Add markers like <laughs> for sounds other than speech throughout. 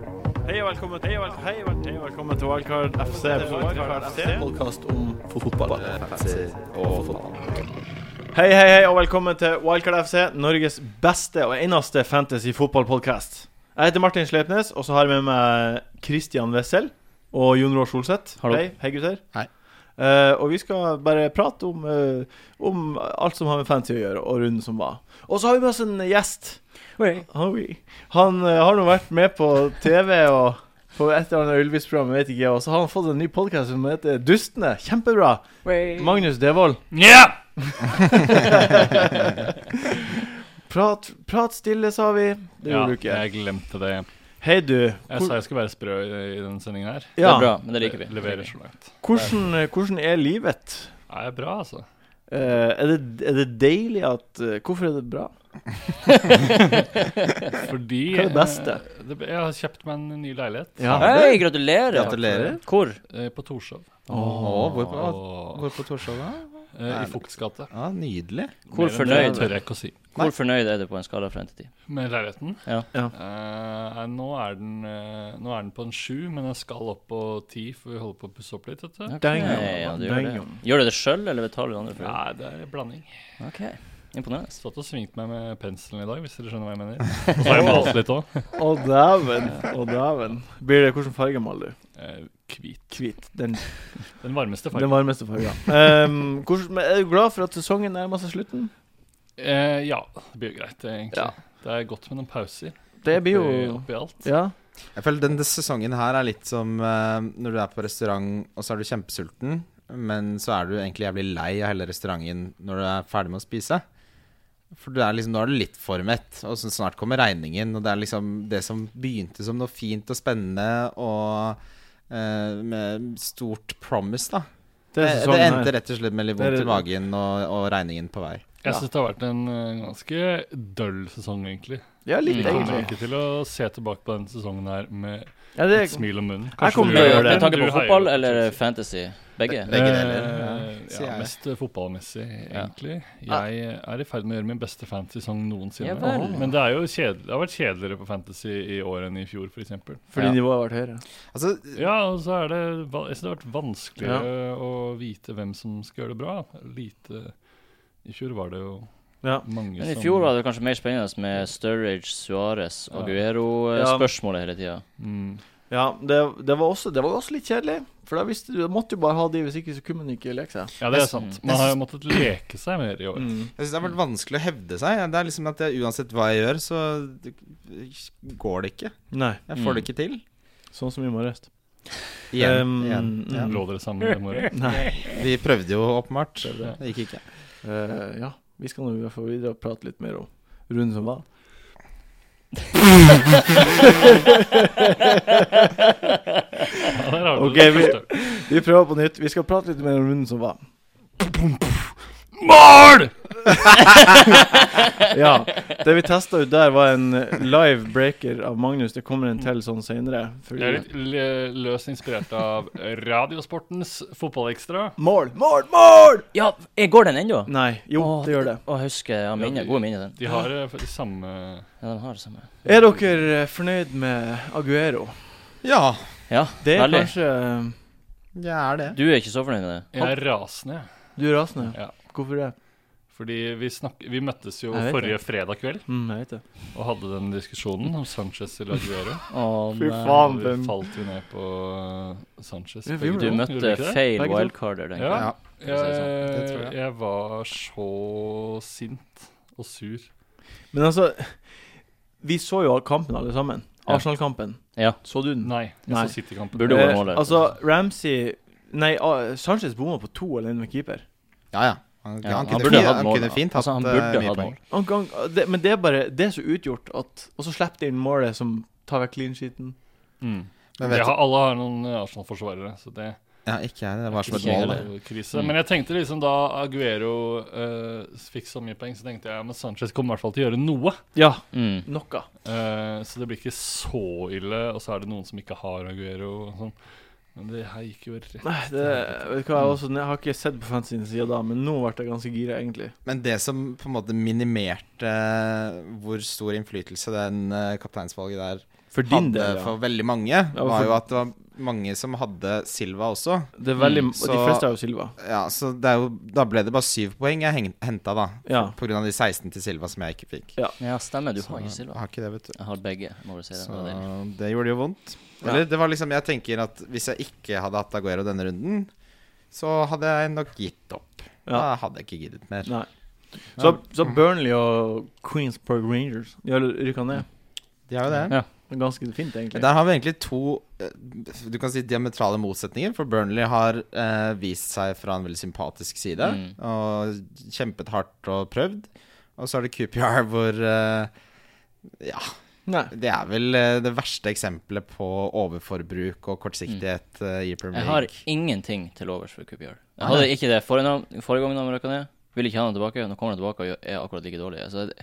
og velkommen til og velkommen, hei, og velkommen, hei, og velkommen til Wildcard FC. Wildcard FC. Podkast om fotball. Og fotball. Hei, hei, hei, og velkommen til Wildcard FC, Norges beste og eneste fantasy fotballpodkast. Jeg heter Martin Sleipnes, og så har jeg med meg Christian Wessel og Jon Roar Solseth. Hallo. Hei, hei gutter. Hei. Eh, og vi skal bare prate om, eh, om alt som har med fantasy å gjøre, og runden som var. Og så har vi med oss en gjest. Oi. Han eh, har nå vært med på TV og på et eller annet Ylvis-program, jeg vet ikke, og så har han fått en ny podkast som heter Dustene. Kjempebra. Magnus Devold. Nja! Prat, prat stille, sa vi. Det Ja, gjorde du ikke. jeg glemte det. Hei, du. Jeg sa jeg skulle være sprø i, i denne sendingen her. Det er Ja, bra, men det liker vi. Leverer så langt. hvordan, eh, hvordan er livet? Ja, jeg er bra, altså. Eh, er, det, er det deilig at eh, Hvorfor er det bra? Fordi Hva er det beste? eh, det, jeg har kjøpt meg en ny leilighet Ja. Hei, gratulerer. Gratulerer. Hvor? eh, på Torshov. Åh, hvor på, Og, hvor på Torshov, da? eh, I Fugts gate. Ja, nydelig. Hvor Mer enn fornøyd- Det tør jeg ikke å si. Hvor fornøyd er du på en skala fra 1 til 10? Med leiligheten? Ja. Ja. Eh, eh, nå, er den, eh, nå er den på en sju, men jeg skal opp på ti, for vi holder på å pusse opp litt. Vet du. Dang, Nei, ja, du gjør, dang. det. gjør du det sjøl, eller betaler du andre for det? Nei, det er en blanding. Ok, Imponerende. Satt og svingte meg med penselen i dag, hvis dere skjønner hva jeg <laughs> mener. Og så har jeg malt litt òg. Å, dæven. Å, dæven. Blir det Hvilken farge maler du? Eh, Hvit. Hvit. Den Den varmeste fargen. Den varmeste fargen. Ehm, hvordan- men er du glad for at sesongen nærmer seg slutten? Eh, ja, det blir jo greit, det, egentlig. Ja. Det er godt med noen pauser. Det blir oppi- jo oppi alt. Ja. Jeg føler denne sesongen her er litt som eh, når du er på restaurant, og så er du kjempesulten, men så er du egentlig jævlig lei av hele restauranten når du er ferdig med å spise. For du er liksom, nå er du litt for mett, og så snart kommer regningen. Og det er liksom det som begynte som noe fint og spennende og eh, med stort promise, da. Det er det sesongen endte her. rett og slett med litt Det vondt er- i magen og, og regningen på vei. Jeg Ja. syns det har vært en eh, ganske døll sesong, egentlig. Ja, litt, Mm. Jeg kommer egentlig. ikke til å se tilbake på denne sesongen her med Ja, et det, smil om munnen. kommer du til å gjør gjøre det. Med tanke Du på heier fotball jo på eller Chelsea. fantasy? Begge? Begge Eh, deler, ja, sier ja, jeg. mest eh, fotballmessig, egentlig. Jeg er i ferd med å gjøre min beste fantasy-sesong noensinne. Ja vel. Men det, er jo kjedel- det har vært kjedeligere på fantasy i år enn i fjor, f.eks. fordi Ja. nivået har vært høyere. Altså, Ja, og så er det va- Jeg synes det har vært vanskeligere å vite hvem som skal gjøre det bra. Lite I fjor var det jo Ja. mange Men i som fjor var det kanskje mer spennende med Sturridge, Suárez og Ja. Ja. Guero-spørsmålet hele tida. mm, Ja, det, det, var også, det var også litt kjedelig. For da visste du, du måtte jo bare ha de, hvis ikke så kunne man ikke leke seg. Ja, det er sant. Man har jo måttet leke seg mer i år. Jeg synes det har Mm. vært vanskelig å hevde seg. Det er liksom at jeg, Uansett hva jeg gjør, så går det ikke. Nei, Jeg Mm. får det ikke til. sånn som i morges. Igjen. Um, igjen. Ja. mm. Lå dere sammen i morgen? <laughs> Nei. Vi prøvde jo åpenbart. Prøvde. Det gikk ikke. Eh, ja, vi skal nå i hvert fall videre og prate litt mer om runden som var. Ja, der har du Ok, det vi- første. Vi prøver på nytt. Vi skal prate litt mer om runden som var. Mål! Ja, det vi testa ut der, var en live breaker av Magnus. Det kommer en til sånn seinere. Jeg er litt l- løst inspirert av Radiosportens Fotballekstra. Mål, mål, mål! Ja, eh, går den ennå? Nei, jo, Åh, det gjør det. Å, husker jeg. Ja, minne, Ja, gode minner, den. De har eh, f- de samme Ja, den har det samme. Er dere eh, fornøyd med Aguero? Ja, Ja, Det er veldig. kanskje eh, jeg er det. Du er ikke så fornøyd med det? Jeg er rasende, jeg. Du er rasende? Ja. Hvorfor det? Fordi vi, snakk, vi møttes jo Jeg vet forrige fredag kveld Mm, jeg vet det. og hadde den diskusjonen om Sanchez eller Aguero. Å, Fy nei. faen. Vi den- falt jo ned på uh, Sanchez. Ja, vi begge gjorde to. Du det. møtte Gjorde vi ikke det? feil Begge to. wildcarder, tenker Ja. jeg. Ja. for å si Jeg, det sånn. Det tror jeg. jeg var så sint og sur. Men altså, vi så jo kampen alle sammen. Ja. Arsenal-kampen. Ja. Så du den? Nei, jeg Nei. så City-kampen. Burde gå i mål, Eh, det. altså, Ramsey Nei, ah, Sanchez bomma på to alene med keeper. Ja, ja. Han, Ja, han, han kunne, burde fint, hatt han mål, kunne da. fint hatt Altså, han eh, burde mye hatt poeng. mål. Han kan- det, men det er bare Det er så utgjort at Og så slipper de inn målet som tar vekk clean sheeten. Mm. Men Jeg vet du har, alle har noen eh, Arsenal-forsvarere, så det Ja, ikke jeg. Det var som et Ikke jeg mål. heller. det. er jo krise. Men jeg tenkte liksom da Aguero eh, fikk så mye poeng, så tenkte jeg at Sanchez kommer i hvert fall til å gjøre noe. Ja, Mm. noe. Eh, så det blir ikke så ille. Og så er det noen som ikke har Aguero. Og sånn. Men det her gikk jo rett Nei, det, vet du hva, jeg, også, jeg har ikke sett på fansen siden da, men nå ble jeg ganske gira, egentlig. Men det som på en måte minimerte eh, hvor stor innflytelse den eh, kapteinsvalget der For din hadde del, ja. for veldig mange, og var for- jo at det var mange som hadde Silva også. Det er veldig, Mm, og de så- fleste er jo Silva. Ja, så det er jo, Da ble det bare syv poeng jeg henta, da. Ja. På grunn av de 16 til Silva som jeg ikke fikk. Ja, stemmer. Du Så har ikke Jeg Silva. har ikke det, vet du. Jeg har begge, må du si det. Så det. var deilig. det gjorde jo vondt. Ja. Eller det var liksom Jeg tenker at hvis jeg ikke hadde hatt Aguero denne runden, så hadde jeg nok gitt opp. Da Ja. hadde jeg ikke giddet mer. Nei. Så, så Burnley og Queensburg Rangers De har rykka ned. De har jo det. Ja. Ganske fint, egentlig. Der har vi egentlig to eh, Du kan si diametrale motsetninger, for Burnley har eh, vist seg fra en veldig sympatisk side Mm. og kjempet hardt og prøvd. Og så er det QPR hvor eh, Ja, Nei. det er vel eh, det verste eksempelet på overforbruk og kortsiktighet eh, i Premier Mm. Jeg har League. ingenting til overs for Coopyard. Nei. Jeg hadde ikke det forrige, navn- forrige gang de røkka ned. Vil ikke ha den tilbake. Nå kommer den tilbake og gjør- er akkurat like dårlig. Altså, det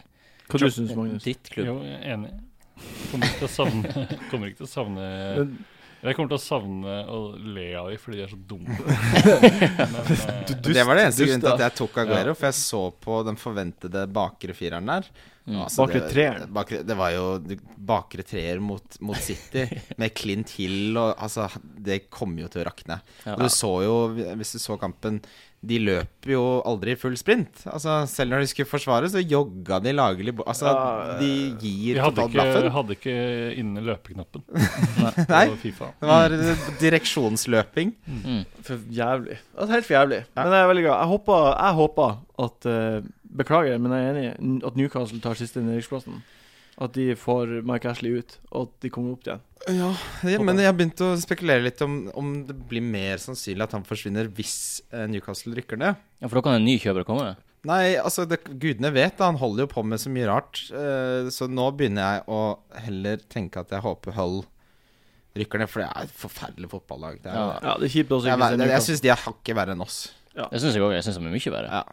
Hva du syns du, Magnus? Drittklubb. Jo, jeg er enig. Kommer ikke til å savne, <laughs> kommer ikke til å savne Men- Jeg kommer til å savne å le av dem fordi de er så dumme. eh, Du- Men, dust- det var det eneste dust, grunnen til at da. jeg tok Aguero, for jeg så på den forventede bakre fireren der. Mm. Altså, Bakre det- treeren. Bakre, det var jo de- bakre treer mot, mot City, <laughs> med Clint Hill og Altså, det kom jo til å rakne. Ja. Og du så jo, hvis du så kampen De løper jo aldri i full sprint. Altså, selv når de skulle forsvare, så jogga de lagelig bo- Altså, Ja, de gir de hadde totalt ikke, blaffen. hadde ikke inne løpeknappen Nei. på Fifa. Det var eh, <laughs> direksjonsløping. Mm. For jævlig. Altså, helt for jævlig. Men jeg er veldig glad. Jeg håper, jeg håper at eh, Beklager, men jeg er enig i at Newcastle tar siste nedrykksplassen. At de får Mike Ashley ut, og at de kommer opp igjen. Ja, ja, men jeg har begynt å spekulere litt om, om det blir mer sannsynlig at han forsvinner hvis eh, Newcastle rykker ned. Ja, for da kan en ny kjøper komme. Nei, altså det, gudene vet da, han holder jo på med så mye rart. eh, så nå begynner jeg å heller tenke at jeg håper Hull rykker ned, for det er et forferdelig fotballag. Det er, Ja. Ja, Det er kjipt også Jeg, ikke jeg, se jeg, Newcastle. syns de er hakket verre enn oss. Det syns jeg òg. Jeg syns de er mye verre. Ja.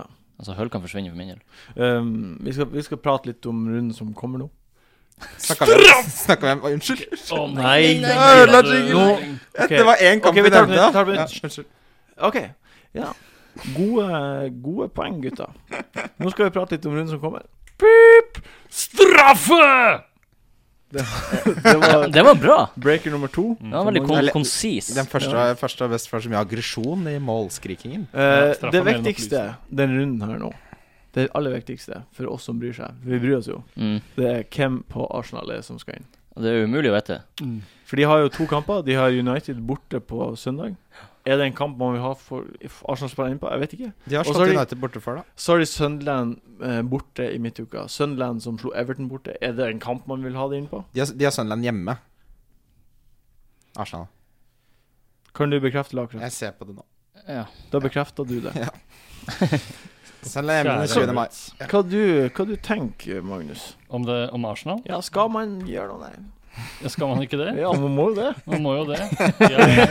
Ja. Altså, Hull kan forsvinne for min del. Um, vi, skal, vi skal prate litt om runden som kommer nå. Snakka vi om Snakka vi om Oi, Unnskyld! Å, Nei, nei, nei, ødela jingle. Nå- Ok. <laughs> Det var én kamp Ok, vi vi tar det på nevnte. nytt, tar det på Ja, nytt. unnskyld. OK. Ja. Gode, gode poeng, gutter. Nå skal vi prate litt om runden som kommer. Pip! Straffe! Det var Det var bra! breaker nummer to. Den var veldig kon Mm. Eller- konsis. Den første, første og best for så mye aggresjon i målskrikingen. Eh, straff det er mer enn viktigste den runden her nå, det aller viktigste for oss som bryr seg, vi bryr oss jo, Mm. det er hvem på Arsenal er som skal inn. Og Det er jo umulig å vite. For de har jo to kamper. De har United borte på søndag. Er det en kamp man vil ha for if Arsenal spiller inn på? Jeg vet ikke. De har Og så slått har de- United borte før, da. Så har de Sunderland eh, borte i midtuka. Sunderland som slo Everton borte. Er det en kamp man vil ha det inn på? De har, de har Sunderland hjemme. Arsenal. Kan du bekrefte lagkraft? Jeg ser på det nå. Ja. Da bekrefter du det. Sunderland hjemme Kjære 20. mai. Reds. Hva du, hva du tenker Magnus? Om, det, om Arsenal? Ja, skal man gjøre noe? Nei. Skal man ikke det? Ja, man må jo det. <laughs> Man må jo det. Jeg,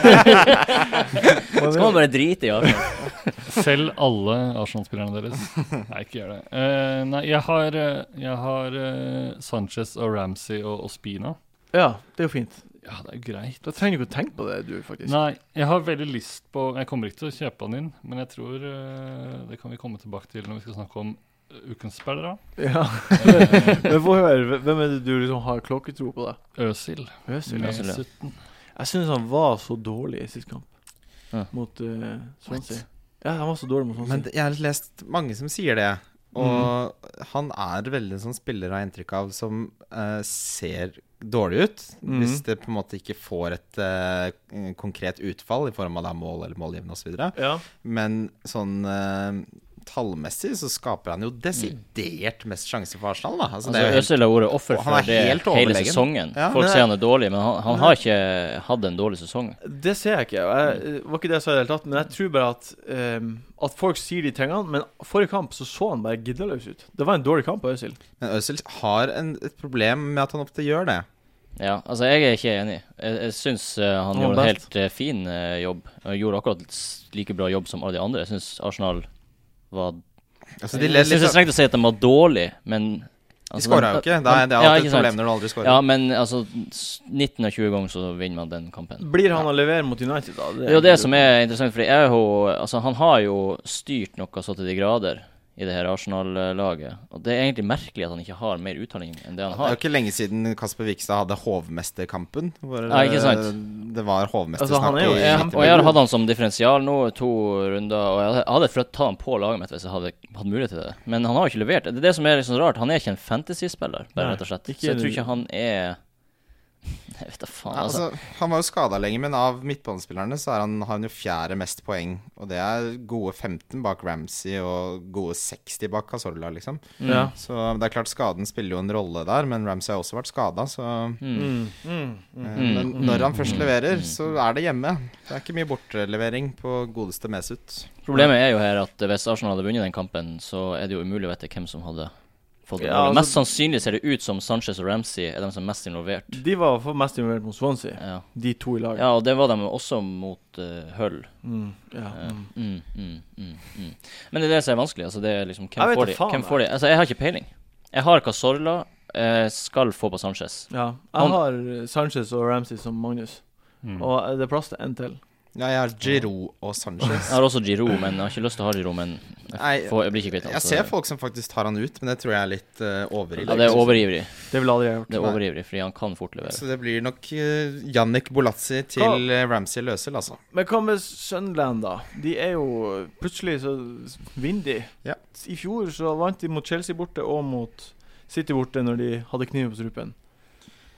Skal man bare drite i Arsenal? selv alle Arsenal-spillerne deres. Nei, ikke gjør det. Eh, nei, jeg har, eh, jeg har eh, Sanchez og Ramsey og Ospina. Ja, det er jo fint. Ja, det er jo greit. Da trenger du ikke å tenke på det, du, faktisk. Nei, jeg har veldig lyst på Jeg kommer ikke til å kjøpe han inn, men jeg tror eh, det kan vi komme tilbake til når vi skal snakke om eh, ukens spillere. <laughs> Ja. Eh, Men få høre, hvem er det du liksom har klokketro på, da? Øsil. Øsil, med ja. Øsil, ja. 17. Jeg syns han var så dårlig i sist kamp, Ja. mot eh, Swansea. Ja, han var så dårlig mot Swansea. Men det- jeg har lest mange som sier det. Og Mm. han er veldig en sånn spiller har jeg inntrykk av som eh, ser dårlig ut. Mm. Mhm. Hvis det på en måte ikke får et eh, konkret utfall i form av da mål eller målgivende osv. Ja. Men sånn eh, tallmessig så skaper han jo desidert mest sjanser for Arsenal, da. Altså, det Altså, er jo helt, Øzil har vært offer Og han for er det helt hele overlegen. sesongen. Ja, Folk men- sier han er dårlig, men han, han har ikke hatt en dårlig sesong. Det ser jeg ikke. og Jeg, eh, var ikke det jeg sa i det hele tatt, men jeg tror bare at ehm, At folk sier de tingene, men forrige kamp så så han bare giddaløs ut. Det var en dårlig kamp av Øzil. men Øzil har en, et problem med at han ofte gjør det. Ja, altså jeg er ikke enig. Jeg, jeg syns eh, han Han var gjorde en best. helt eh, fin eh, jobb. Og gjorde akkurat s- like bra jobb som alle de andre. Jeg syns Arsenal var Altså, de Jeg led syns litt jeg av trengte å si at de var dårlig, men De Altså, skåra den- jo ikke. Det er, det er Ja, alltid ikke et sant. problem når du aldri skårer. Ja, men altså 19 av 20 ganger så vinner man den kampen. Blir han å levere mot United, da? Det er jo det som er interessant, fordi jeg har- altså, han har jo styrt noe så til de grader i det her Arsenal-laget. Og det er egentlig merkelig at han ikke har mer uttaling enn det han Det er har. jo ikke lenge siden Kasper Vikstad hadde Hovmesterkampen. Hvor Nei, ikke sant. eh, det var Altså, han hovmestersnakk. er jo i- Ja, Jeg, og jeg har hatt han som differensial nå, to runder. Og jeg hadde- jeg hadde flyttet han på laget mitt hvis jeg hadde hatt mulighet til det. Men han har jo ikke levert. Det er det som er liksom rart. Han er ikke en fantasy-spiller, bare Nei, rett og slett. ikke- Så jeg tror ikke han er <laughs> Jeg vet da faen. Ja, Altså, altså, han var jo skada lenge, men av midtbanespillerne så er han, har han jo fjerde mest poeng. Og det er gode 15 bak Ramsey og gode 60 bak Casorla, liksom. ja. Så det er klart skaden spiller jo en rolle der, men Ramsey har også vært skada, så mm. Mm, mm, mm. eh, Men når han først leverer, så er det hjemme. Det er ikke mye bortelevering på godeste Mesut. Problemet er jo her at hvis Arsenal hadde vunnet den kampen, så er det jo umulig å vite hvem som hadde fått den. Ja, rollen. altså- mest sannsynlig ser det ut som Sanchez og Ramsey er de som er mest involvert. De var for mest involvert mot Swansea, Ja. de to i lag. ja, og det var de også mot eh, Hull. Mm, ja. Eh, Mm. mm, mm, mm, mm. Men det er det som er vanskelig. Altså, det er liksom, Jeg hvem vet da får de? faen, Hvem jeg. får de? Altså, jeg har ikke peiling. Jeg har Casorla, eh, skal få på Sanchez. ja. Jeg Han- har Sanchez og Ramsey som Magnus, Mm. og det er plass til en til. Ja, jeg har Giroud og Sanchez. Jeg har også Giroud, men jeg har ikke lyst til å ha Giroud, men Nei, jeg, får, jeg blir ikke kvitt han, Jeg så- ser folk som faktisk tar han ut, men det tror jeg er litt uh, overivrig. Ja, det er overivrig. Det ville aldri jeg gjort. Det er overivrig, fordi han kan fort levere. Så det blir nok eh, Jannik Bolazzi til eh, Ramsey Løsel, altså. Men hva med Sunderland, da? De er jo plutselig så vinner de. Ja. I fjor så vant de mot Chelsea borte og mot City borte når de hadde kniven på strupen.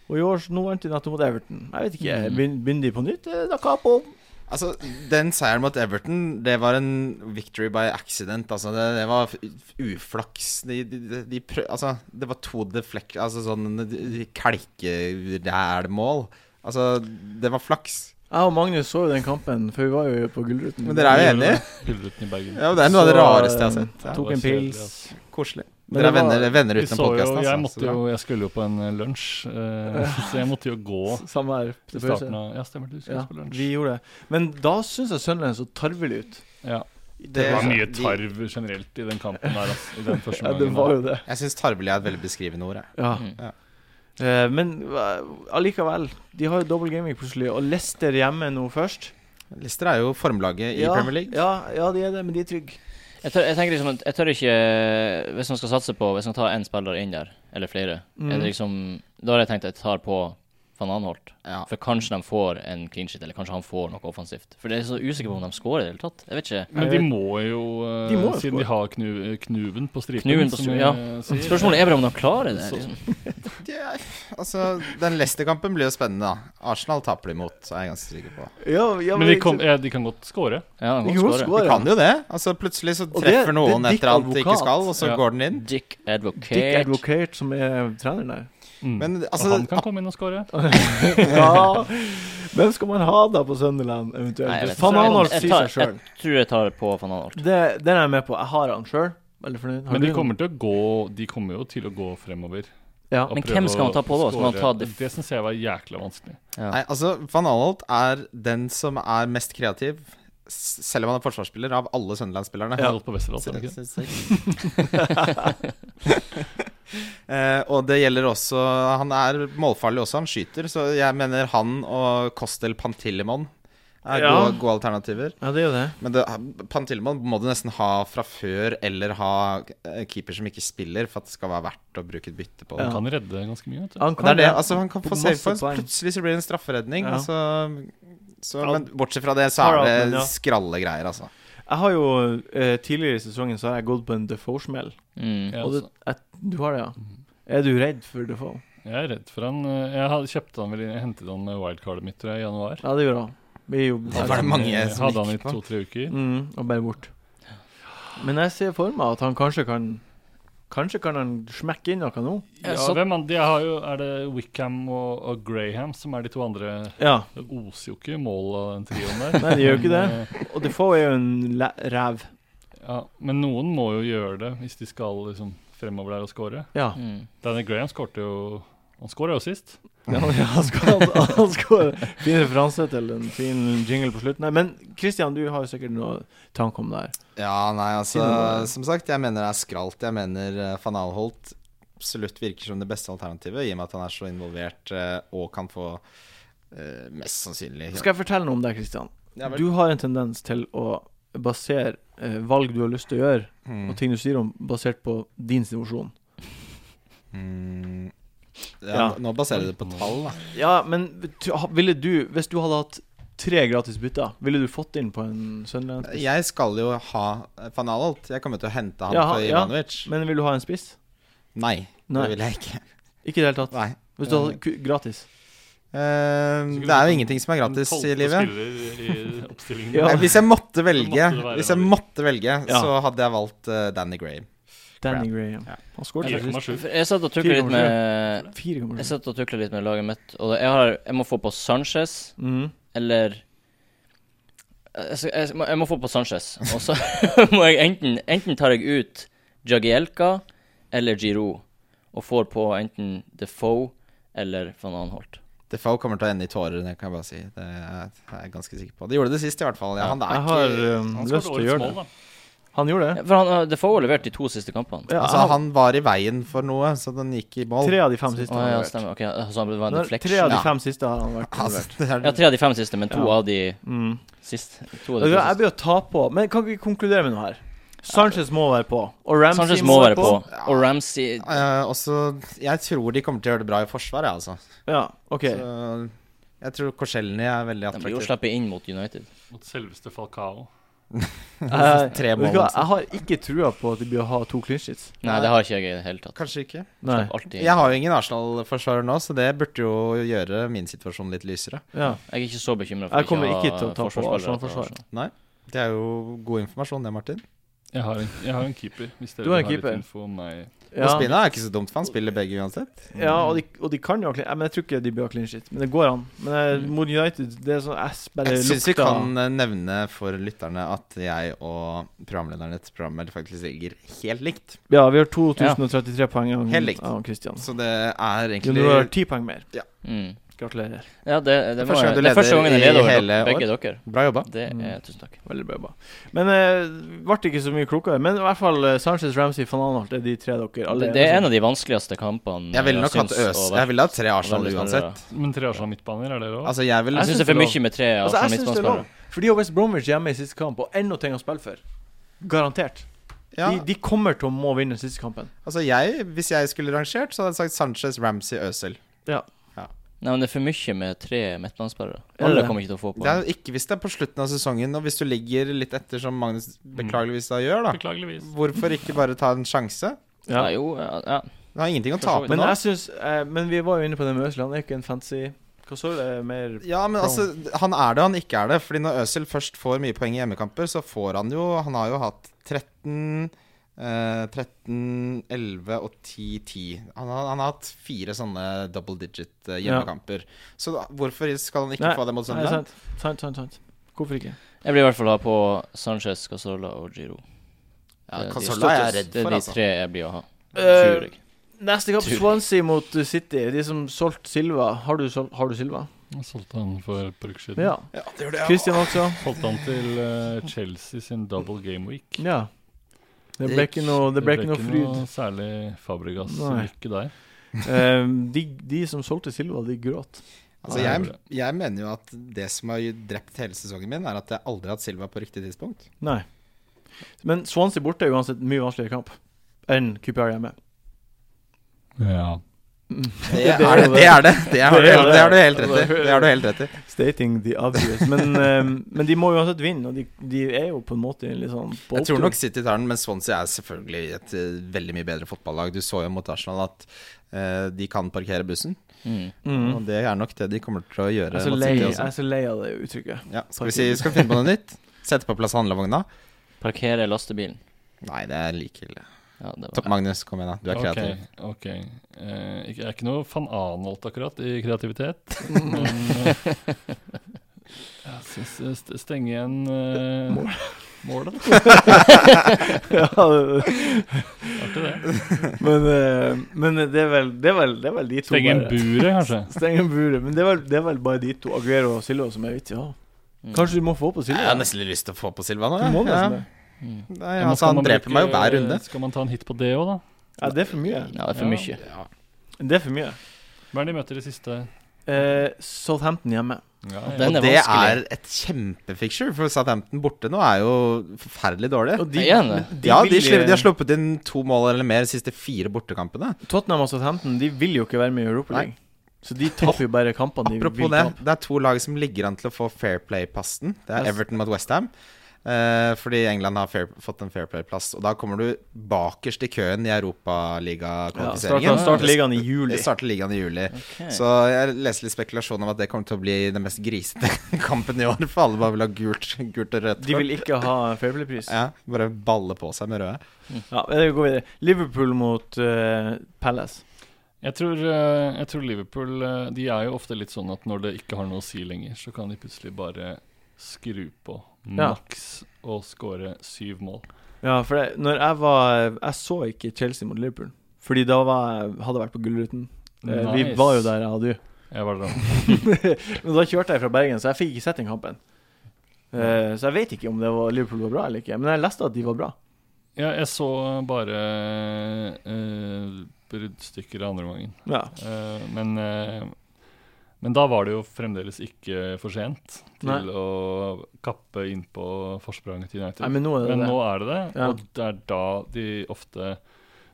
Og i år så nå vant de nettopp mot Everton. Jeg vet ikke, Mm. begyn- begynner de på nytt? eh, Da capo. Altså, Den seieren mot Everton, det var en victory by accident. Altså, Det, det var f- uflaks. De, de, de, de prø altså, det var to deflek... Altså sånn kalkerælmål. Altså, det var flaks. Jeg og Magnus så jo den kampen, for vi var jo på Gullruten. Men dere er jo enige? Gullruten i Bergen. Ja, men det er noe av det Så, rareste jeg har sett. eh, Ja, Tok det en var kjedelig, pils. altså. ass. Koselig. Men Dere er det var- venner, venner Vi uten så jo, podkasten, jeg, altså. så måtte bra. jo, jeg skulle jo på en eh, lunsj, eh, så jeg måtte jo gå <laughs> Samme her. i til starten pause. av Ja, stemmer det, du skulle Ja, på lunsj. vi gjorde det. Men da syns jeg Sunderland så tarvelig ut. Ja. Det Det var er- mye de- tarv generelt i den kampen der, ass. I den første Ja, det gangen var der. jo det. Jeg syns tarvelig er et veldig beskrivende ord. Jeg. Ja. Mm. Eh, men eh, allikevel, de har jo dobbel gaming plutselig, og Leicester hjemme nå først. Lister er jo formlaget i ja, Premier League. Ja, ja, de er det, men de er trygge. Jeg, tør, jeg tenker liksom at jeg tør ikke Hvis man skal satse på Hvis man tar én spiller inn der, eller flere Mm. er det liksom, Da har jeg tenkt at jeg tar på van Anholt. Ja. For kanskje de får en clean sheet, eller kanskje han får noe offensivt. For jeg er så usikker på om de scorer i det hele tatt. Jeg vet ikke. Men de må jo, eh, De må jo siden de har knu, knuven på stripen Knuven på som stri- jeg ja. sier. Spørsmålet er bare om de klarer det. Så- Liksom. Det- altså, den Leicester-kampen blir jo spennende, da. Arsenal taper de imot, er jeg ganske sikker på. Ja, ja, Men de, kom, ja, de kan godt score. Ja, de kan de kan jo score. score. De kan jo det. Altså Plutselig så Og det- det treffer er noen Dick etter alt de ikke Advokat. skal, og så Ja. går den inn. Dick Dick Advocate. Advocate, som er treneren der. Mm. Men og altså han kan komme inn og score. ja. Hvem skal man ha da på Sunderland, Nei, jeg eventuelt? vet Van ikke. Anholt Jeg sier tar- seg sjøl. Jeg tror jeg tar på van Anholt. Den er jeg med på. Jeg har han sjøl. Veldig fornøyd. Har Men de du kommer, til å gå, de kommer jo til å gå fremover. Ja. og Men prøve hvem skal man å ta på da? Skal man score. ta de- Det syns jeg var jækla vanskelig. Nei, altså Van Anholt er den som er mest kreativ, s- selv om han er forsvarsspiller, av alle Sunderland-spillerne. Ja. På Vesterålen, Så- er det ikke? det? så- så- <laughs> Eh, og det gjelder også Han er målfarlig også, han skyter. Så jeg mener han og Kostel Pantilimon er Ja. gode, gode alternativer. Ja, det er jo det. Men det, Pantilman må du nesten ha fra før, eller ha eh, keeper som ikke spiller, for at det skal være verdt å bruke et bytte på. Ja. Han kan redde ganske mye. Vet du. Han Det er det, altså Han kan på få masse save points, poeng. plutselig så blir det en strafferedning. Ja. Altså, så, Ja. men bortsett fra det, så Har er det alt, men ja. skralle greier, altså. Jeg har jo eh, Tidligere i sesongen så har jeg gått på en Defoe-smell. Mm. Jeg, Og det, også. jeg, du har det, ja? Mhm. Er du redd for Defoe? jeg er redd for han. eh, Jeg hadde, kjøpte han vel, jeg hentet han med wildcardet mitt tror jeg, i januar. Ja, det gjør jeg. Vi er jo Det var det mange Jeg som hadde han i gikk på. to-tre uker. Mm, og bare bort. Men jeg ser for meg at han kanskje kan Kanskje kan han smekke inn noe nå. Ja, så- hvem an- de har jo, Er det Wickham og, og Graham som er de to andre? Ja, Det oser jo ikke mål av den trioen der. Nei, det gjør jo ikke Men, det. og Defoe er jo en læ- ræv. eh, Ja, men noen må jo gjøre det hvis de skal liksom, fremover der og score. Ja. Mm. Danny Graham skårte jo Han skåra jo sist. Ja, <laughs> han- han skal, han skal Fin referanse til en fin jingle på slutten. Nei, men Christian, du har jo sikkert noe tanke om det her. Ja, nei, Si altså noe. Som sagt, jeg mener det er skralt. Jeg mener eh, Van Alholt absolutt virker som det beste alternativet, i og med at han er så involvert eh, og kan få eh, mest sannsynlig Skal jeg fortelle noe om deg, Kristian? Ja vel. Du har en tendens til å basere eh, valg du har lyst til å gjøre, Mm. og ting du sier om, basert på din situasjon. Mm. Ja, Ja. Nå baserer jeg det på tall, da. Ja, men t- ha- ville du, hvis du hadde hatt tre gratis bytter, ville du fått inn på en Sunderland-spiss? Jeg skal jo ha van Alholt. Jeg kommer til å hente han Ja, for ja. Ivanovic. Men vil du ha en spiss? Nei, Nei. det vil jeg <laughs> ikke. Ikke i det hele tatt. Nei. Hvis du hadde ku- gratis. Eh, Mm, det er jo ingenting som er gratis i livet. <laughs> Ja. <laughs> Nei, hvis jeg måtte velge, måtte det være hvis jeg Ivanovic. måtte velge Ja. så hadde jeg valgt eh, Danny Graham. Danny Graham. Ja. Han skåret jo sist. For Jeg satt og tukla litt med 4,7. Jeg satt og tukla litt med laget mitt, og jeg, har, jeg må få på Sanchez Mm. eller jeg, skal- jeg, må- jeg må få på Sanchez, og så <laughs> må jeg enten Enten tar jeg ut Jagielka eller Giroud og får på enten Defoe eller van Anholt. Defoe kommer til å ende i tårer, det kan jeg bare si. Det er er jeg ganske sikker på. Det gjorde det sist, i hvert fall. Ja, han er Jeg ikke har um, lyst til å gjøre det. Han gjorde det. Ja, For han, har- Defoe har levert de to siste kampene. Ja, Altså, han var i veien for noe, så den gikk i mål. Tre av de fem siste. Å har ja, han levert. stemmer. Ok, så det var en Nå, Tre av deflection. de Ja. fem siste har han vært <laughs> Altså, involvert. det er- Ja, tre av de fem siste, men to Ja. av de Mm. sist. To av Vet du hva, de to Jeg siste. blir å ta på, men kan ikke vi konkludere med noe her? Sanchez må være på, og Ramsey Sanchez må være på, og Ramsey Eh, også, jeg tror de kommer til å gjøre det bra i forsvaret, altså. Ja, ok. <laughs> Så jeg tror Korselny er veldig De blir jo attraktiv. sluppet inn mot United. Mot selveste Falcao. Jeg, Tre vet du hva, mål. jeg har ikke trua på at de bør ha to clean sheets. Nei, det har ikke jeg i det hele tatt. Kanskje ikke. Nei. Alltid. Jeg har jo ingen Arsenal-forsvarer nå, så det burde jo gjøre min situasjon litt lysere. Ja. Jeg er ikke så bekymra for Jeg kommer ha ikke til å ta på forsvarsspillere Arsenal til forsvar. Arsenal. Det er jo god informasjon, det, Martin. Jeg har en, jeg har en keeper, hvis dere Du har en har litt keeper. info om meg. Ja. Ja, Spina er ikke så dumt, for han spiller begge uansett. ja og, de, og de kan jo ha clean ja, Men jeg tror ikke de bør ha clean sheet. Men det går an. Men eh, Mm. mot United, det er sånn ass bare Jeg syns vi lukter- kan eh, nevne for lytterne at jeg og programlederen i dette programmet faktisk ligger helt likt. Ja, vi har 2033 poeng av Helt likt. av Christian. Så det er Jo, Du har egentlig ti poeng mer. Mm. Gratulerer. Ja, det, det, er må første gang jeg, du det er første leder gangen jeg i leder over hele dere, begge dere. bra jobba. Det er Mm. Tusen takk. Veldig bra jobba. Men eh, ble ikke så mye klokere. Men i hvert fall eh, Sanchez, Ramsey, van Anholt er de tre dere alle Det, det enige er en av de vanskeligste kampene Jeg ville nok hatt synes Øs. å være- Jeg ville hatt tre å være Arsenal litt uansett. spillere. Men tre Arsenal midtbaner, er dere òg? Altså, jeg ville Jeg syns det er for mye med tre om. altså, jeg Arsenal syns det er midtbanespillere. lov. For de har West Bromwich hjemme i siste kamp, og ennå ting å spille for. Garantert. ja, De, de kommer til å må vinne siste kampen. altså jeg, Hvis jeg skulle rangert, så hadde jeg sagt Sanchez, Ramsey, Øzil. Nei, men det er for mye med tre midtbanespillere. Er Alle det? kommer ikke til å få Det poeng. er jo ikke hvis det er på slutten av sesongen, og hvis du ligger litt etter, som Magnus Mm. beklageligvis da gjør, da. Beklageligvis. Hvorfor ikke bare ta en sjanse? Ja. jo, ja, ja. Du har ingenting å tape Men nå. jeg synes, eh, Men vi var jo inne på det med Øsland. Er ikke en fancy Hva så du det er mer Ja, men altså, han er det, og han ikke er det. Fordi når Øzil først får mye poeng i hjemmekamper, så får han jo Han har jo hatt 13 eh, 13, 11 og 10, 10. Han har, han har hatt fire sånne double digit eh, Ja. hjemmekamper. Så da, hvorfor skal han ikke få det mot nei, Sunderland? sant, sant, sant, sant. Hvorfor ikke? Jeg blir i hvert fall ha på Sanchez, Casola og Giro. Ja, Det er de Casola er jeg største- redd Det for, er de altså. tre jeg blir å ha. Eh, Tror jeg. Neste kamp, Tur. Swansea mot uh, City. De som solgte Silva. Har du, sol har du Silva? Jeg solgte han for et par uker siden. Ja. Ja, det gjør det, ja. Christian også. Holdt han til eh, Chelsea sin double game week. Ja. Det ble Det- ikke noe, det ble ikke noe fryd. noe særlig Fabregas Nei. lykke der. Eh, de, de som solgte Silva, de gråt. Altså, Nei, jeg, det jeg mener jo at det som har drept hele sesongen min, er at jeg aldri har hatt Silva på riktig tidspunkt. Nei. Men Swansea borte er uansett mye vanskeligere kamp enn QPR hjemme. Ja. Det Det er er det! jo det. Det er det! Det har du, Det er det. det har du helt rett i. Det har du helt rett i. Stating the obvious. Men, eh, men de må uansett vinne, og de, de er jo på en måte litt sånn på Jeg tror opptur. nok City tar den, men Swansea er selvfølgelig et eh, veldig mye bedre fotballag. Du så jo mot Arsenal at eh, de kan parkere bussen, Mm. mm. og det er nok det de kommer til å Jeg gjøre. er så mot lei, City jeg også. er så lei av det uttrykket. Ja, skal vi si skal vi finne på noe nytt? Sette på plass handlevogna? Parkere lastebilen. Nei, det er like ille. Ja, det Topp var Magnus, kom igjen, da. Du er Ok, kreativ. ok. Eh, ikke- jeg er ikke noe fan anholdt akkurat i <laughs> kreativitet. Men eh, jeg synes, eh, st- stenge igjen eh, målet. <laughs> ja, Artig det. <laughs> Men, eh, men det, er vel, det, er vel, det er vel de to Stenge igjen bare- buret, kanskje. Stenge en bure. Men det er, vel, det er vel bare de to, Aguero og Silva, som er vittige. Ja. Mm. Kanskje du må få på Jeg Silva? har nesten litt lyst til å få på Silva nå. Du må jeg. nesten det. Nei, Mm. Ja, men altså, skal han man dreper bruke- meg jo hver runde. Skal man ta en hit på det òg, da? Ja, det er for mye. Ja, det er for Ja. mye. Det er for mye. Hvem er det de møter i siste? Eh, Southampton hjemme. Ja, Og ja. den Og er det er vanskelig. et kjempefiksture, for Southampton borte nå er jo forferdelig dårlig. Og Det er det. men ja, de, vil- eh, slipper, de har sluppet inn to mål eller mer de siste fire bortekampene. Tottenham og Southampton De vil jo ikke være med i Europa Nei. League. Så de taper jo bare kampene de Apropos vil det, tape. det er to lag som ligger an til å få fair play-passen. Det er Yes. Everton mot Westham. Uh, fordi England har fair, fått en fair play-plass. Og da kommer du bakerst i køen i Ja, starter, Europaliga-kvalifiseringen. starter ligaen i juli. Det starter ligaen i juli. Ok. Så jeg leste litt spekulasjon om at det kommer til å bli den mest grisete <laughs> kampen i år. For alle bare vil ha gult, gult og rødt. De vil ikke ha Fairplay-pris. Ja, bare balle på seg med røde. Ja, men det går videre. Liverpool mot eh, Palace. Jeg, tror, eh, jeg tror Liverpool eh, De er jo ofte litt sånn at når det ikke har noe å si lenger, så kan de plutselig bare skru på Ja. maks og skåre syv mål. Ja, for det, når jeg var Jeg så ikke Chelsea mot Liverpool. Fordi da var jeg, hadde jeg vært på Gullruten. Eh, Vi Nice. var jo der jeg hadde jo. Jeg var der også. Men da kjørte jeg fra Bergen, så jeg fikk ikke sett den kampen. Eh, så jeg vet ikke om det var Liverpool var bra eller ikke, men jeg leste at de var bra. Ja, jeg så bare eh, bruddstykker av andre gangen. Ja, Eh, men, eh, men da var det jo fremdeles ikke for sent til Nei. å kappe innpå forspranget til United. Nei, Men nå er det men det. nå er det det, Ja. og det er da de ofte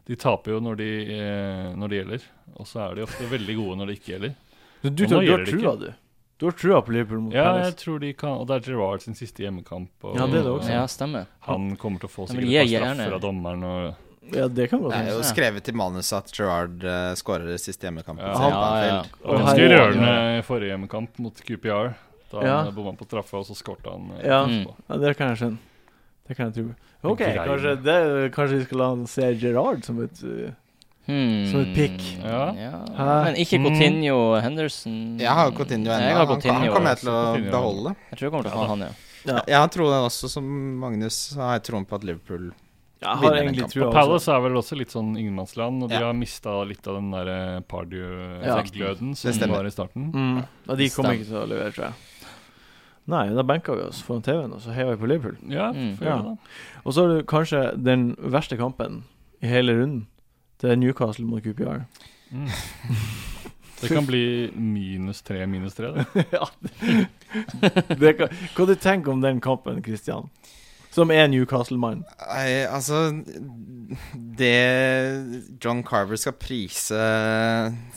De taper jo når de, eh, når det gjelder, og så er de ofte veldig gode når det <laughs> ikke gjelder. Så du, tar- Og nå du har gjør det trua, ikke. du. Du har trua på Liverpool mot Ja, jeg Palace. tror de kan Og det er Gerrard sin siste hjemmekamp. Og, Ja, det er det også. Ja, stemmer. Han kommer til å få Ja, men sikkert jeg et par gjerne- straffer av dommeren. Og, Ja, det kan godt Det er hende. jo skrevet i manuset at Gerard uh, skårer siste hjemmekamp. Ja. Og ganske her- rørende i forrige hjemmekamp mot QPR. Da Ja. han bomma på straffe, og så skårte han. eh, Ja. etterpå. Ja, det kan jeg skjønne. Det kan jeg tro. Ok, Greier. kanskje, det, kanskje vi skal la han se Gerard som et uh, Hmm. Som et pick. Ja. Hæ? Men ikke Mm. Coutinho og Henderson. Jeg har Coutinho ennå. Nei, Jeg har Han, kan- Coutinho. han kommer jeg til å Coutinho. beholde. Jeg tror jeg kommer til å ha han, ja. Ja. Jeg har troen også, som Magnus, har jeg troen på at Liverpool Jeg Vinner har den egentlig kampen. trua også. Palace er vel også litt sånn ingenmannsland, og de Ja. har mista litt av den der Ja. Pardew-gløden Det som stemmer. var i starten. Mm. Og de kommer Stem. ikke til å levere, tror jeg. Nei, da benka vi oss foran TV-en, og så heier vi på Liverpool. Ja, Mm. får gjøre det, da. Og så har du kanskje den verste kampen i hele runden. Det er Newcastle mot QPR. Det kan bli minus tre, minus tre. det. <laughs> ja. det kan, hva du tenker om den kampen, Christian? Som er Newcastle-mann. Nei, altså Det John Carver skal prise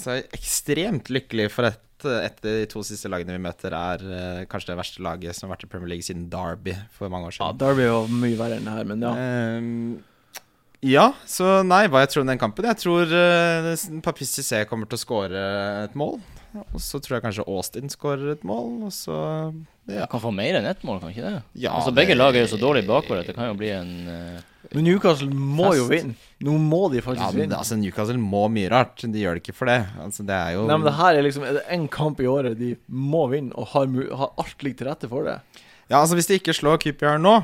seg ekstremt lykkelig for at et av de to siste lagene vi møter, er eh, kanskje det verste laget som har vært i Premier League siden Derby for mange år Ja, siden. Derby var mye verre enn det her, men ja. Ehm, ja, så nei, hva jeg tror om den kampen? Jeg tror uh, Papis Cissé kommer til å skåre et mål. Og så tror jeg kanskje Austin skårer et mål, og så Ja. Han kan få mer enn ett mål, kan ikke det? ja altså, det- begge lag er jo så dårlige bakover at det kan jo bli en eh, Men Newcastle må jo Fast. vinne. Nå må de Ja, faktisk men vinne. altså, Newcastle må mye rart. De gjør det ikke for det. Altså, det er jo Nei, men det her er liksom Er det én kamp i året de må vinne, og har, mu- har alt ligger til rette for det, Ja, altså Hvis de ikke slår QPR nå,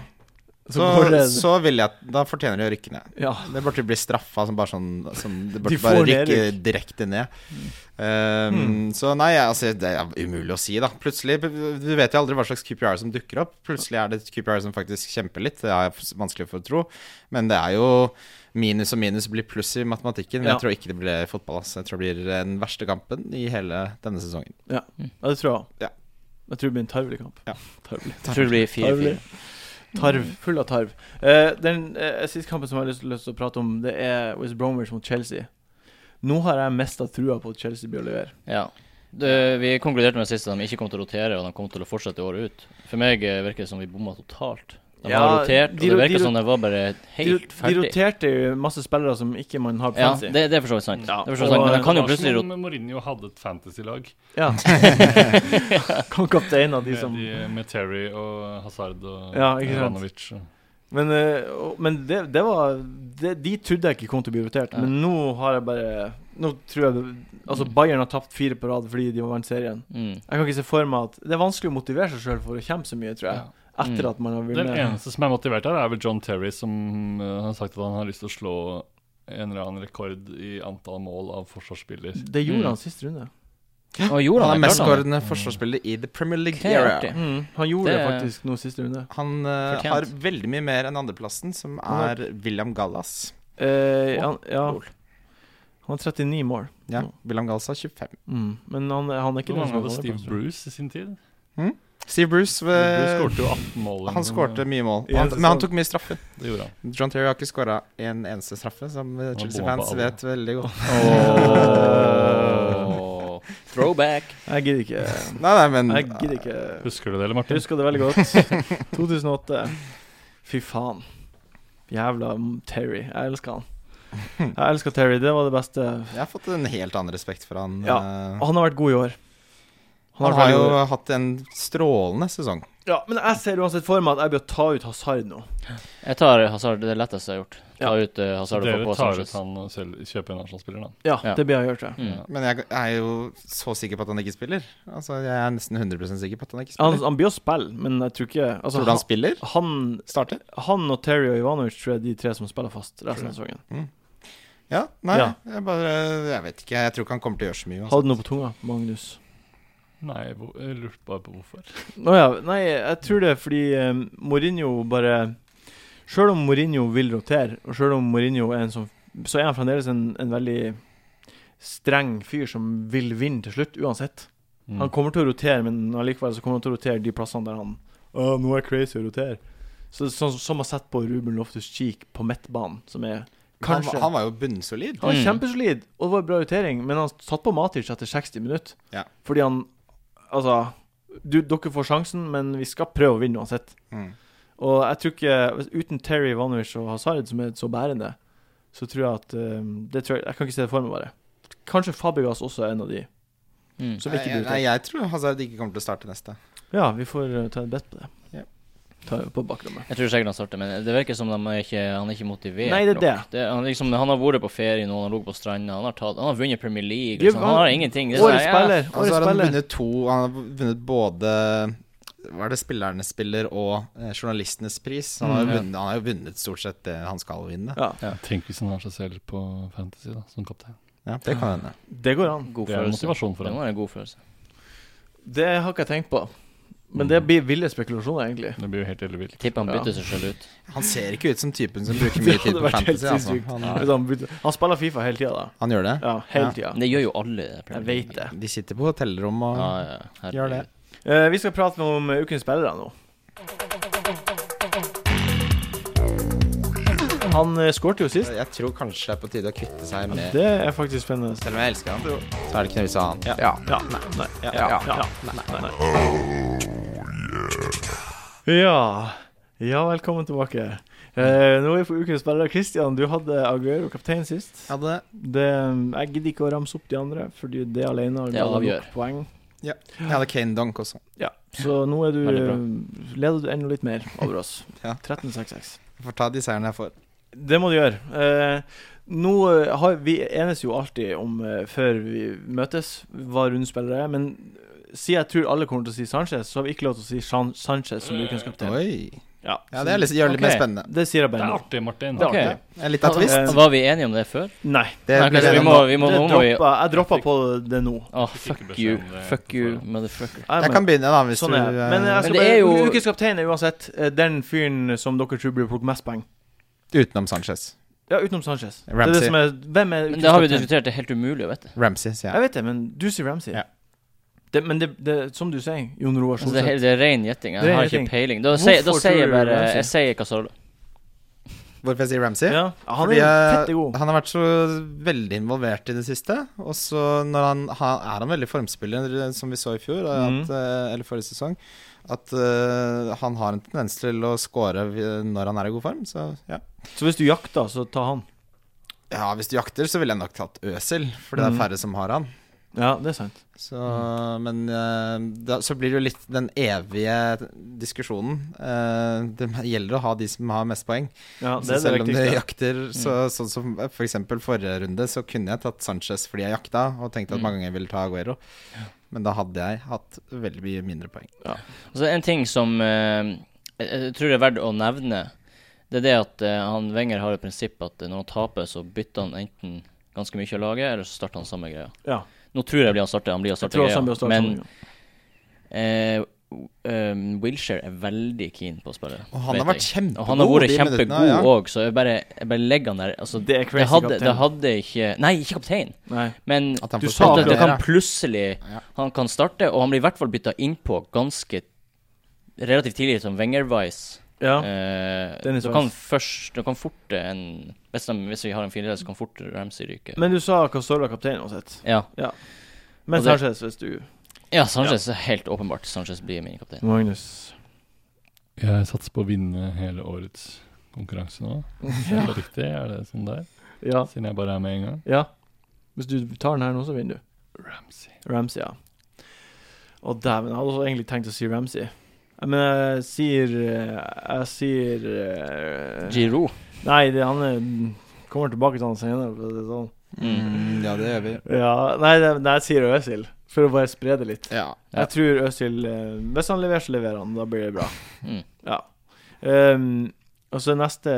så, så, går det så vil jeg at- Da fortjener de å rykke ned. Ja. Det burde bli straffa som bare sånn som Det De burde får Mm. bare rykke nedrykk. direkte ned. Um, Hmm. Så nei, altså det er umulig å si, da. Plutselig Du vet jo aldri hva slags QPR som dukker opp. Plutselig er det et QPR som faktisk kjemper litt. Det er vanskelig for å tro. Men det er jo minus og minus blir pluss i matematikken. Men Ja. jeg tror ikke det blir fotball. ass. Jeg tror det blir den verste kampen i hele denne sesongen. Ja, det tror jeg. Ja. Jeg tror det blir en tarvelig kamp. Ja. Tarvelig. Jeg tror det blir Tarvelig. 4-4. Tarv. Full av tarv. Eh, den eh, siste kampen som jeg har lyst, lyst til å prate om, det er West Bromwich mot Chelsea. Nå har jeg mista trua på at Chelsea blir å levere. Ja. Det, vi konkluderte med sist at de ikke kom til å rotere, og de kom til å fortsette året ut. For meg eh, virker det som vi bomma totalt. De har Ja, rotert, og de det ro- de virker ro- som de var bare De, de helt ferdig. roterte jo masse spillere som ikke man har Ja, fancy. det, det er for så vidt sant. Ja, Det er for så vidt sant. og- Men de kan jo Det var plutselig som rotere. om Mourinho hadde et fantasy-lag Ja. kan kapteinen av de med, som de- med Terry og Hazard og Ja, ikke sant. Ivanovic. Men, eh, og- men det, det var det, De trodde jeg ikke kom til å bli rotert, Ja. men nå har jeg bare Nå tror jeg det- Altså, Bayern har tapt fire på rad fordi de vant serien. Mm. Jeg kan ikke se for meg at Det er vanskelig å motivere seg sjøl for å kjempe så mye, tror jeg. Etter Mm. at man har Den vunnet. eneste som er motivert her, er vel John Terry, som eh, har sagt at han har lyst til å slå en eller annen rekord i antall mål av forsvarsspiller. Det gjorde Mm. han sist runde. Og gjorde Han er han det? Klarte han det? mestskårende forsvarsspiller i the Premier League Ok, era. artig. Mm, han gjorde det, Det- faktisk nå siste runde. Han eh, Fortjent. har veldig mye mer enn andreplassen, som Han er William Gallas. Eh, han, ja. han har 39 mål. Ja. Mm. William Galsa 25. Mm. Men han, han er ikke Hvor mange den hadde som- Steve Bruce i sin tid? Steve Bruce, Bruce ved, skårte jo 18 mål. eller Eh, han noe sånt. skårte mye mål. Ja, Han, det er men sant. han tok mye straffer. Det gjorde han. John Terry har ikke skåra en eneste straffe, som eh, bomma på Chelsea-fans alle. vet veldig <laughs> godt. Åh. Throwback. Jeg gidder ikke. eh, Nei, nei, men eh, Jeg gidder ikke. Husker du det, eller, Jeg Martin? husker det veldig godt. 2008. Fy faen. Jævla Terry. Jeg elsker han. Jeg elsker Terry. Det var det beste. Jeg har fått en helt annen respekt for han. Ja, eh, Han har vært god i år. Han har Han vært har veldig jo god i år. hatt en strålende sesong. Ja, men jeg ser uansett for meg at jeg bør ta ut Hazard nå. Jeg tar Hazard, det er det letteste jeg har gjort. Ta ut eh, Hazard og få Dere på tar ut Sanchez. han og selv, kjøper en Arsenal-spiller, da. Ja, Ja. det blir jeg gjort, ja. Mm. Ja. Men jeg er jo så sikker på at han ikke spiller. Altså, Jeg er nesten 100 sikker på at han ikke Han, spiller. han blir å spille, men jeg tror ikke altså, Tror du han spiller? han, Starter? han og Terry og Ivanovic tror jeg er de tre som spiller fast resten av sesongen. Ja? Nei, Ja. jeg bare Jeg vet ikke. Jeg tror ikke han kommer til å gjøre så mye. altså. Har du noe på tunga, Magnus? Nei, hvor- jeg lurte bare på hvorfor. Nå ja, nei, jeg tror det er fordi eh, Mourinho bare Selv om Mourinho vil rotere, og selv om Mourinho er en som Så er han fremdeles en, en veldig streng fyr som vil vinne til slutt, uansett. Han kommer til å rotere, men allikevel så kommer han til å rotere de plassene der han Å, nå er jeg crazy å rotere. Så, sånn som har sett på Ruben Loftus Cheek på midtbanen, som er Han, kanskje han var jo bunnsolid. han var Mm. kjempesolid, og det var en bra rotering, men han satt på Matic etter 60 minutter. Ja. Fordi han Altså, du, dere får sjansen, men vi skal prøve å vinne uansett. Mm. Og jeg tror ikke hvis- Uten Terry Ivanovic og Hazard, som er så bærende, så tror jeg at eh, det tror jeg, jeg kan ikke se det for meg, bare. Kanskje Fabigas også er en av de Mm. som Nei, ikke blir nei, rotert. jeg tror Hazard ikke kommer til å starte neste. Ja, vi får eh, ta et bet på det. Ja. Ta det på bakrommet. Jeg tror sikkert han starter, men det virker som de er ikke, han er ikke motivert Nei, det er nok. det. han, liksom, han har vært på ferie nå, han har ligget på stranda, han, har tatt- han har vunnet Premier League. Ja, Liksom. Han har han- ingenting. Det er sånn, Årets ja, spiller. Årets Og så har Altså, han spiller. vunnet to Han har vunnet både Hva er det spillernes spiller og eh, journalistenes pris? Han har, jo Mm, ja. vunnet, han har jo vunnet stort sett det han skal vinne. Ja, Tenk hvis han har seg selv på Fantasy, da, som kaptein. Ja, det kan hende. det går an. God Det er en følelse. motivasjon for Det ham. må være en god følelse. Det har ikke jeg tenkt på. Men det blir ville spekulasjoner, egentlig. Det blir jo helt ellevilt. Tipper han Ja. bytter seg selv ut. Han ser ikke ut som <laughs> typen som Det bruker mye hadde tid på vært helt fantasy. Altså. sinnssykt. Han, <laughs> Hvis Han, begynte- Liksom, han spiller Fifa hele tida, da. han gjør det? Ja, hele tida. Men det gjør jo alle. i Premier Jeg League. vet det. De sitter på hotellrom og Ja, ja, herregud. gjør det. Eh, vi skal prate om eh, ukens spillere nå. Han uh, skårte jo sist. Jeg tror kanskje det er på tide å kvitte seg med Det er faktisk spennende. Selv om jeg elsker han, så er det ikke noe vits i å ha han. Ja. Ja. Nei. Nei. Ja. Ja. Ja. Nei. Ja. ja, velkommen tilbake. Eh, nå er vi på ukens spillere. Christian, du hadde Aguero kaptein sist. Ja, det, Det, jeg gidder ikke å ramse opp de andre, fordi det alene Det ga deg avgjør. nok poeng. jeg hadde Kane Donk også. Ja, så nå er du Veldig bra. leder du enda litt mer over oss. <laughs> Ja. 13-6-6. Jeg får ta de seierne jeg får. Det må du gjøre. Eh, nå eh, har Vi enes jo alltid om, eh, før vi møtes, hva rundespillere er. Men siden jeg tror alle kommer til å si Sanchez, så har vi ikke lov til å si San Sanchez som ukens kaptein. Oi. Ja. Ja, det er litt, gjør det litt mer Ok. spennende. Det sier jeg Det bare er nå. artig, Martin. Det er Ok. artig. Det er Litt av twist. Eh, Var vi enige om det før? Nei. Det Nei, ok, ble så det nå. vi må, vi må, det nå må vi droppa, jeg droppa på det nå. Ah, Fikk fuck ikke beskjed you. om det Fuck you, forrige. motherfucker. Jeg Jeg kan begynne, da, hvis sånn du er det. Men eh, jeg skal Men det bare, er jo- ukens kaptein er uansett eh, den fyren som dere tror blir plukket mest poeng. Utenom Sanchez. Ja, utenom Sanchez. Det er Ramsey. det som er, hvem er Men ukens det har vi kaptein? diskutert, det er helt umulig å vite. Ramsey, sier jeg. Jeg vet det, men du sier Ramsey. Ja. Det, men det, det, som du sier, Jon Roar Altså, det, Solseth er, det er ren gjetting. sånn Det Jeg er har gjetting. ikke peiling. Da, sier- da Hvorfor sier jeg tror du bare Ramsey? Jeg sier Casorla. Hvorfor jeg sier Ramsey? Ja, han Fordi er jeg- fette god. han har vært så veldig involvert i det siste. Og så når han, han, er han veldig formspiller, eh, som vi så i fjor, at, Mhm. eh, eller forrige sesong. At eh, han har en tendens til å score vi- når han er i god form. Så ja. Så hvis du jakter, så ta han. ja, hvis du jakter, så ville jeg nok tatt Øsil, for det er Mhm. færre som har han. Ja, det er sant. Så, Men eh, da, så blir det jo litt den evige diskusjonen. Eh, det gjelder å ha de som har mest poeng. Ja, det Så er det selv om du viktigste. jakter, så, sånn som for eksempel forrige runde, så kunne jeg tatt Sanchez fordi jeg jakta, og tenkte at Mm. mange ganger jeg ville ta Aguero. Men da hadde jeg hatt veldig mye mindre poeng. Altså, en ting som eh, jeg, jeg tror det er verdt å nevne, det er det at eh, han Wenger har et prinsipp at eh, når han taper, så bytter han enten ganske mye av laget, eller så starter han samme greia. Ja. Nå tror jeg blir han starter, han blir å Jeg starte tror også greia, han blir å starte men sånn. eh, um, Wilshere er veldig keen på å spille. Og han vet har vært jeg. kjempegod Og han har vært de minuttene, kjempegod ja. òg, så jeg bare, jeg bare legger han der. Altså, Det er crazy hadde, kaptein. det hadde ikke Nei, ikke kaptein, Nei. men At han Du får sa spille at det, det akkurat mer, kan ja. plutselig Ja. Han kan starte, og han blir i hvert fall bytta innpå ganske relativt tidlig, som Wenger-wise. Ja. Eh, Dennis du kan først Du kan fort eh, en Hvis, de, hvis vi har en firedel, så kan fort Ramsey ryke. Men du sa Casola kaptein uansett. ja. Men Og det- Sanchez, hvis du ja, Sanchez er helt åpenbart. Sanchez blir min kaptein. Magnus. Jeg satser på å vinne hele årets <laughs> konkurranse nå. Er det riktig? Er det sånn der? Ja. Siden jeg bare er med en gang. ja. Hvis du tar den her nå, så vinner du. Ramsey. Ramsey, ja. Å, dæven. Jeg hadde også egentlig tenkt å si Ramsey. Men jeg sier eh, Jeg sier eh, Giroud. Nei, det, han er, kommer tilbake til han senere. For å si det sånn. Mm, ja, det gjør vi. ja, nei, det, nei, jeg sier Øsil, for å bare spre det litt. Ja. Jeg Ja. tror Øsil eh, Hvis han leverer, så leverer han. Da blir det bra. Mm. Ja. Ehm, og så neste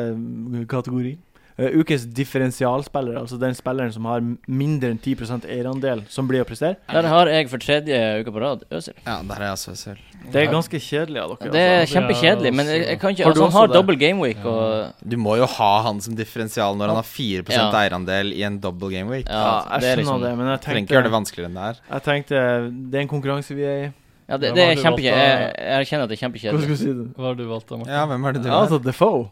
kategori. Eh, ukes differensialspiller, altså den spilleren som har mindre enn 10 eierandel, som blir å prestere. Der har jeg for tredje uke på rad Øzil. ja, der er jeg også selv. Det er ganske kjedelig av dere. Det er altså. kjempekjedelig, men jeg, jeg kan ikke Har du Altså, han også har det? double game week, og Du må jo ha han som differensial når han har 4 Ja. eierandel i en double game week. Ja, jeg det er skjønner liksom- det, men jeg Trenger ikke gjøre det tenkte, vanskeligere enn det er. jeg tenkte Det er en konkurranse vi er i. Ja, det, Ja, det hva er har du valgt kjempekjedelig. Jeg, da? jeg erkjenner at Hvordan det er kjempekjedelig. skal vi si det? Hva har du valgt da, Morten? Ja, hvem er det du Ja, er? altså Defoe.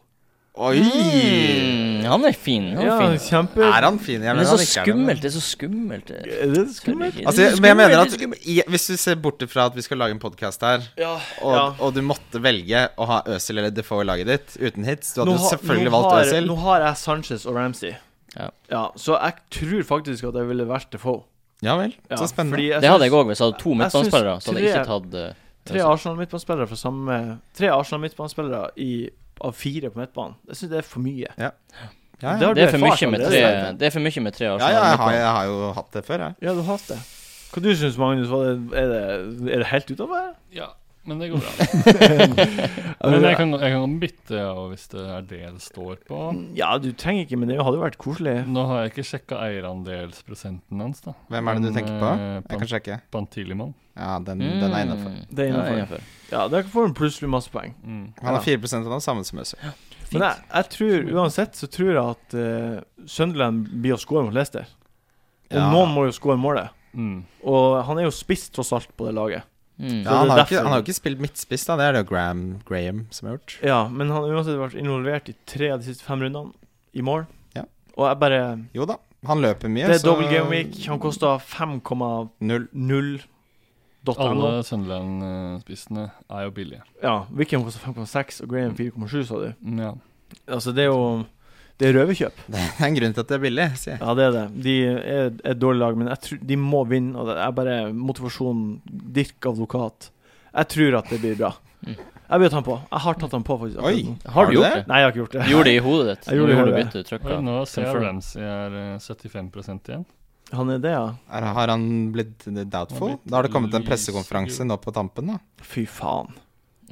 Oi! Mm, han er fin. Han er Ja, fin. kjempe Er han fin? Jeg Men det mener er han så ikke er det, men- skummelt. Det er så skummelt. Det Er det skal du skummelt? Altså, ikke- det jeg- er men så jeg skummelt, mener det er så skummelt. at i, Hvis du ser bort fra at vi skal lage en podkast her, Ja. og, ja. og du måtte velge å ha Øzil eller Defoe i laget ditt uten hits Du hadde Nå jo ha- selvfølgelig nå valgt har- Øzil. Nå har jeg Sanchez og Ramsey. Ja. så jeg tror faktisk at jeg ville vært Defoe. Ja vel, Ja, så spennende. fordi jeg Det hadde synes jeg òg hvis jeg hadde to Jeg- jeg synes midtbanespillere. Så hadde jeg ikke tre- tatt eh, Tre Arsenal-midtbanespillere fra samme Tre Arsenal-midtbanespillere i- av fire på midtbanen. Jeg syns det er for mye. Ja, Det ja. har Det er du for erfart mye med allerede. tre Det er for mye med tre ja, ja jeg, har, Arsenal. jeg har jo hatt det før, jeg. Ja, du hater det. Hva du syns Magnus? Var det, er, det, er det helt utover? Ja, men det går bra. <laughs> <laughs> Men jeg kan, jeg kan bytte ja, og hvis det er det det står på. Ja, du trenger ikke, men det hadde jo vært koselig. Nå har jeg ikke sjekka eierandelsprosenten hans, da. Hvem er det Mm. du tenker på? Jeg kan Kanskje sjekke. Pantiliman. Ja, den, den Mm. er innafor. Det er Mm. Ja, innenfor. innenfor. Ja, der får du plutselig masse poeng. Han Mm. Ja. har 4 av det samme som Øzil. Men jeg, jeg tror uansett så tror jeg at eh, Sunderland blir å score mot Leicester. Og Ja. noen må jo score målet. Mm. Og han er jo spiss tross alt på det laget. Så Ja, Mm. det er han, har jo ikke, derfor- han har jo ikke spilt midtspiss, da. Det er det jo Graham, Graham som har gjort. Ja, men han har uansett vært involvert i tre av de siste fem rundene i mål. Ja. Og jeg bare Jo da, han løper mye, Det er double game week. Han kosta 5,0 Null. <laughs> .no. Alle Sunderland-spissene er jo billige. Ja, Wickham kosta 5,6 og Graham 4,7, sa du. Mm, Ja. Altså, det er jo Det er røverkjøp. Det er en grunn til at det er billig, sier jeg. Ja, det er det. De er et dårlig lag, men jeg tror de må vinne. Og det er bare motivasjonen. Dirk advokat. Jeg tror at det blir bra. Mm. Jeg vil ta han på. Jeg har tatt han på, faktisk. Oi! akkurat nå. Har du gjort det? det? Nei, jeg har ikke gjort det. Gjorde det i hodet ditt? Jeg gjorde Når det i du hodet. byttet, Oi, trykka. nå ser jeg Confirm. Ramsey er eh, 75 igjen. Han er det, ja. Er, har han blitt doubtful? Han har blitt Da har det kommet en lysegrå. pressekonferanse nå på tampen, da. Fy faen.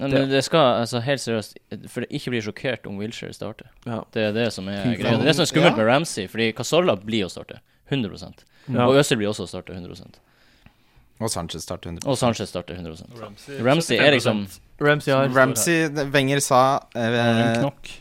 Men det- det skal altså helt seriøst For det ikke blir sjokkert om Wilshere starter. Ja. Det er det som er Fy greia. Det er det som er skummelt med Ramsey, fordi Casolla blir å starte. 100 Ja. Mm. Og Øzil blir også å starte 100 Og Sanchez starter 100 Og Sanchez starter 100 Ramsey, Ramsey er liksom- Ramsey har Ramsey Wenger sa En eh, knokk.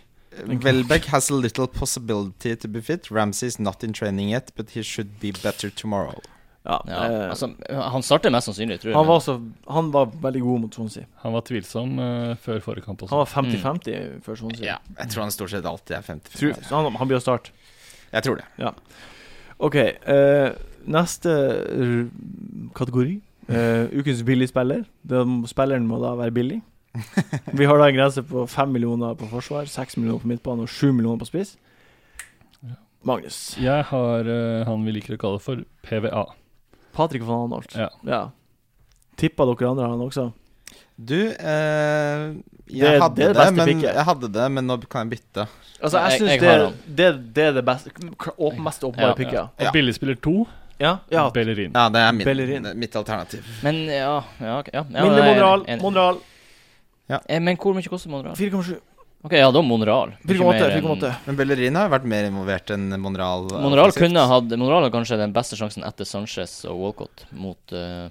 Welbeck has a little possibility to be fit. Ramsey is not in training yet, but he should be better tomorrow. Ja, Ja, eh, altså, han starter mest sannsynlig, tror jeg. han, men- var så, han var veldig god mot Swansea. Han var tvilsom eh, før forrige kamp Han også. var 50-50 før Swansea. Ja, jeg tror han stort sett alltid er 50. Tror, så han, han blir å starte. Jeg tror det. OK. eh, neste r kategori. eh, ukens billigspiller. Den Spilleren må da være <laughs> billig. Vi har da en grense på 5 millioner på forsvar, 6 millioner på midtbane og 7 millioner på spiss. Magnus. Jeg har eh, han vi liker å kalle for PVA. Patrick van Anholt. Ja. Tippa dere andre han også? Du, eh, jeg, Det- hadde det det er det beste men, picket. jeg hadde det, men nå kan jeg bytte. Altså, jeg, Jeg- synes jeg det, har han. det, det er det beste k- åp- mest åpenbare Ja. picket. Og Ja. billigspiller to, Ja. ja. Bellerin. Ja, det er min, Bellerin. det er mitt alternativ. Men ja, ja, ok, ja, ja Mindre nei, jeg er Monreal. enig. Monreal Eh, Men hvor mye koster Monreal? 4,7. Ok, ja, da Monreal. Ikke 4,8. mer enn- 4,8. Men Bellerin har jo vært mer involvert enn Monreal. Monreal offensivt. kunne hatt Monreal har kanskje den beste sjansen etter Sanchez og Walcott mot eh,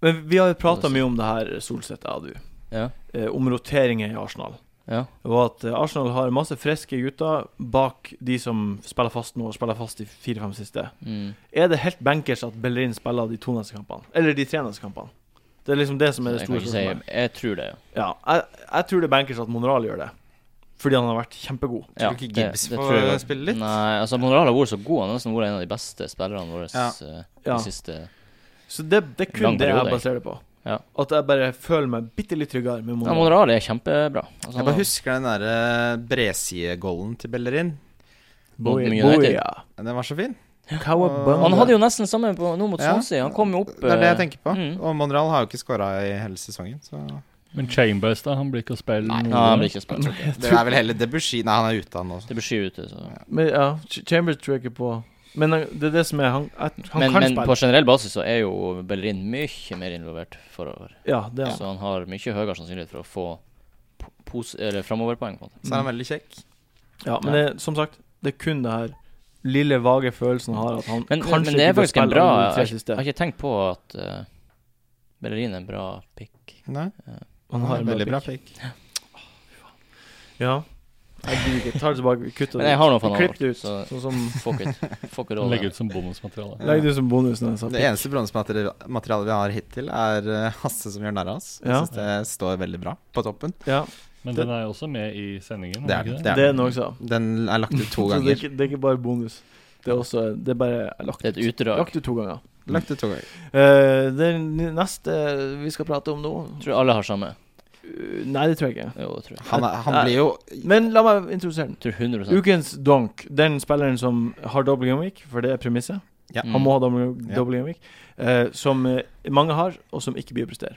Men vi har jo prata mye om det her, Solseth, jeg og du, Ja. eh, om roteringer i Arsenal. Ja. Og at eh, Arsenal har masse friske gutter bak de som spiller fast nå, og spiller fast de fire-fem siste. Mm. Er det helt bankers at Bellerin spiller de to neste kampene? Eller de tre neste kampene? Det er liksom det som er det Jeg kan store ikke si spørsmålet. Jeg tror det, ja. Ja, jeg, jeg tror det er bankers at Monreal gjør det. Fordi han har vært kjempegod. Ja, ikke det- Gibbs det får tror jeg. spille litt? Nei, altså Monreal har vært så god. Han har nesten vært en av de beste spillerne våre Ja. eh, Ja. de siste Så det, det er kun Lang det jeg periode, baserer det på. Ja. At jeg bare føler meg bitte litt tryggere med ja, Monreal. Monreal er kjempebra. Altså, han Jeg bare husker den derre bredsidegollen til Bellerin. mot Boy- United. boy, ja. Den var så fin. Kawabanga. Han hadde jo nesten samme på, nå mot Ja. Swansea. Han kom jo opp Det er det eh, jeg tenker på. mm. Og Monreal har jo ikke scora i hele sesongen, så Men Chambers, da? Han blir ikke å spille Nei, noe. han blir ikke spilt. Det er vel heller Debussy Nei, han er ute, han også. Det blir sky ute, så Men, ja, Ch- Chambers tror jeg ikke på. Men han- det er det som er Han, at han men, kan men på spille. generell basis så er jo Bellerin mye mer involvert forover. Ja, det er han. Så han har mye høyere sannsynlighet for å få po- pos eller framoverpoeng. på en måte. Så er han veldig kjekk. Ja, men det, som sagt, det er kun det her lille, vage følelsen han har, at han Men, kanskje men det er ikke bør faktisk en spille bra alle de tre Jeg har ikke- siste. jeg har ikke tenkt på at eh, Bellerin er en bra pick. Nei, Han har en veldig bra pick. pick. Ja. Jeg gidder ikke. Tar det tilbake. Kutt det Men jeg har noe for han Klipp det ut. så Sånn som fuck <laughs> it. Fuck it all. Legge ut som bonusmateriale. Legg det ut som bonus. når jeg sa Det pick. eneste bronsematerialet vi har hittil, er eh, Hasse som gjør narr av oss. Jeg Ja. synes det står veldig bra på toppen. Ja, Men den er jo også med i sendingen. Det er den. ikke det? Ja. det er den også. Den er lagt ut <laughs> to Så det er, ganger. ikke, det er ikke bare bonus. Det er også Det er bare jeg har lagt Det er et ut. utdrag. Lagt ut to ganger. Lagt ut to ganger. Eh, det er n- neste vi skal prate om nå Jeg tror alle har samme. Uh, Nei, det tror jeg ikke. Jo, jeg tror jeg. Han, er- han blir jo Men la meg introdusere den. Jeg tror 100 Ukens donk. Den spilleren som har double game week, for det er premisset. Ja. Mm. Han må ha double, Ja. double game week. eh, som eh, mange har, og som ikke blir å prestere.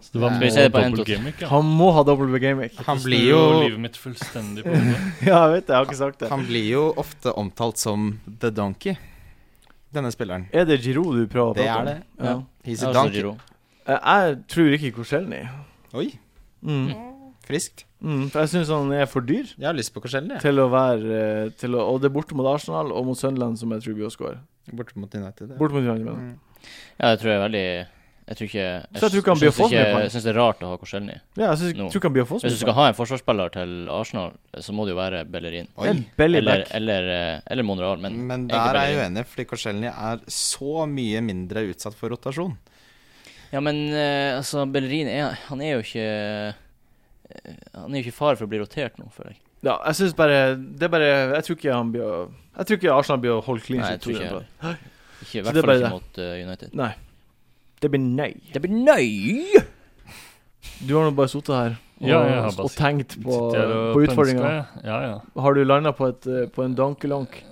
Så det var Skal vi se det på mål en dobbelt to? gimmick, ja. Han må ha double game <laughs> week. Han Så blir snur jo livet mitt fullstendig på hodet. ja, jeg vet det. Jeg har ikke sagt det. Han blir jo ofte omtalt som The Donkey, denne spilleren. Er det Giroud du prøver å Det prate om? er det. Ja. He's Jeg a har også donkey. Giroud. Eh, Jeg tror ikke Korselny. Oi, Mm. friskt. Mm. For jeg syns han er for dyr Jeg har lyst på Korselny, jeg. til å være eh, til å, Og det er borte mot Arsenal og mot Sunderland, som jeg tror blir å score. Borte mot United. ja. Borte mot United, mener jeg. Mm. Ja, jeg tror jeg er veldig Jeg tror ikke Så jeg tror ikke han blir syns for mye ikke- poeng. Jeg syns det er rart å ha Korselny. Ja, jeg syns No. tror ikke han blir å få Hvis du skal ha en forsvarsspiller til Arsenal, så må det jo være Bellerin. Oi. En belly Eller, back. eller, eh, eller Monreal, men, Men egentlig der er jeg Bellerin. uenig, fordi Korselny er så mye mindre utsatt for rotasjon. Ja, men eh, altså, Bellerin er Han er jo ikke eh, Han er jo ikke i fare for å bli rotert nå, føler jeg. Ja, jeg syns bare Det er bare Jeg tror ikke han blir å Jeg tror ikke Arsenal blir å holde clean Nei, jeg sheet tror to ikke ganger på Ikke, I Så hvert det er fall bare ikke mot eh, United. rad. Nei. Det blir nei. Det blir nøy! Du har nå bare sittet her og, Ja, jeg har bare og tenkt <laughs> på, Sitter jeg på og pønsker, utfordringa. jeg? Ja, ja. Har du landa på, et, eh, på en dankelonk?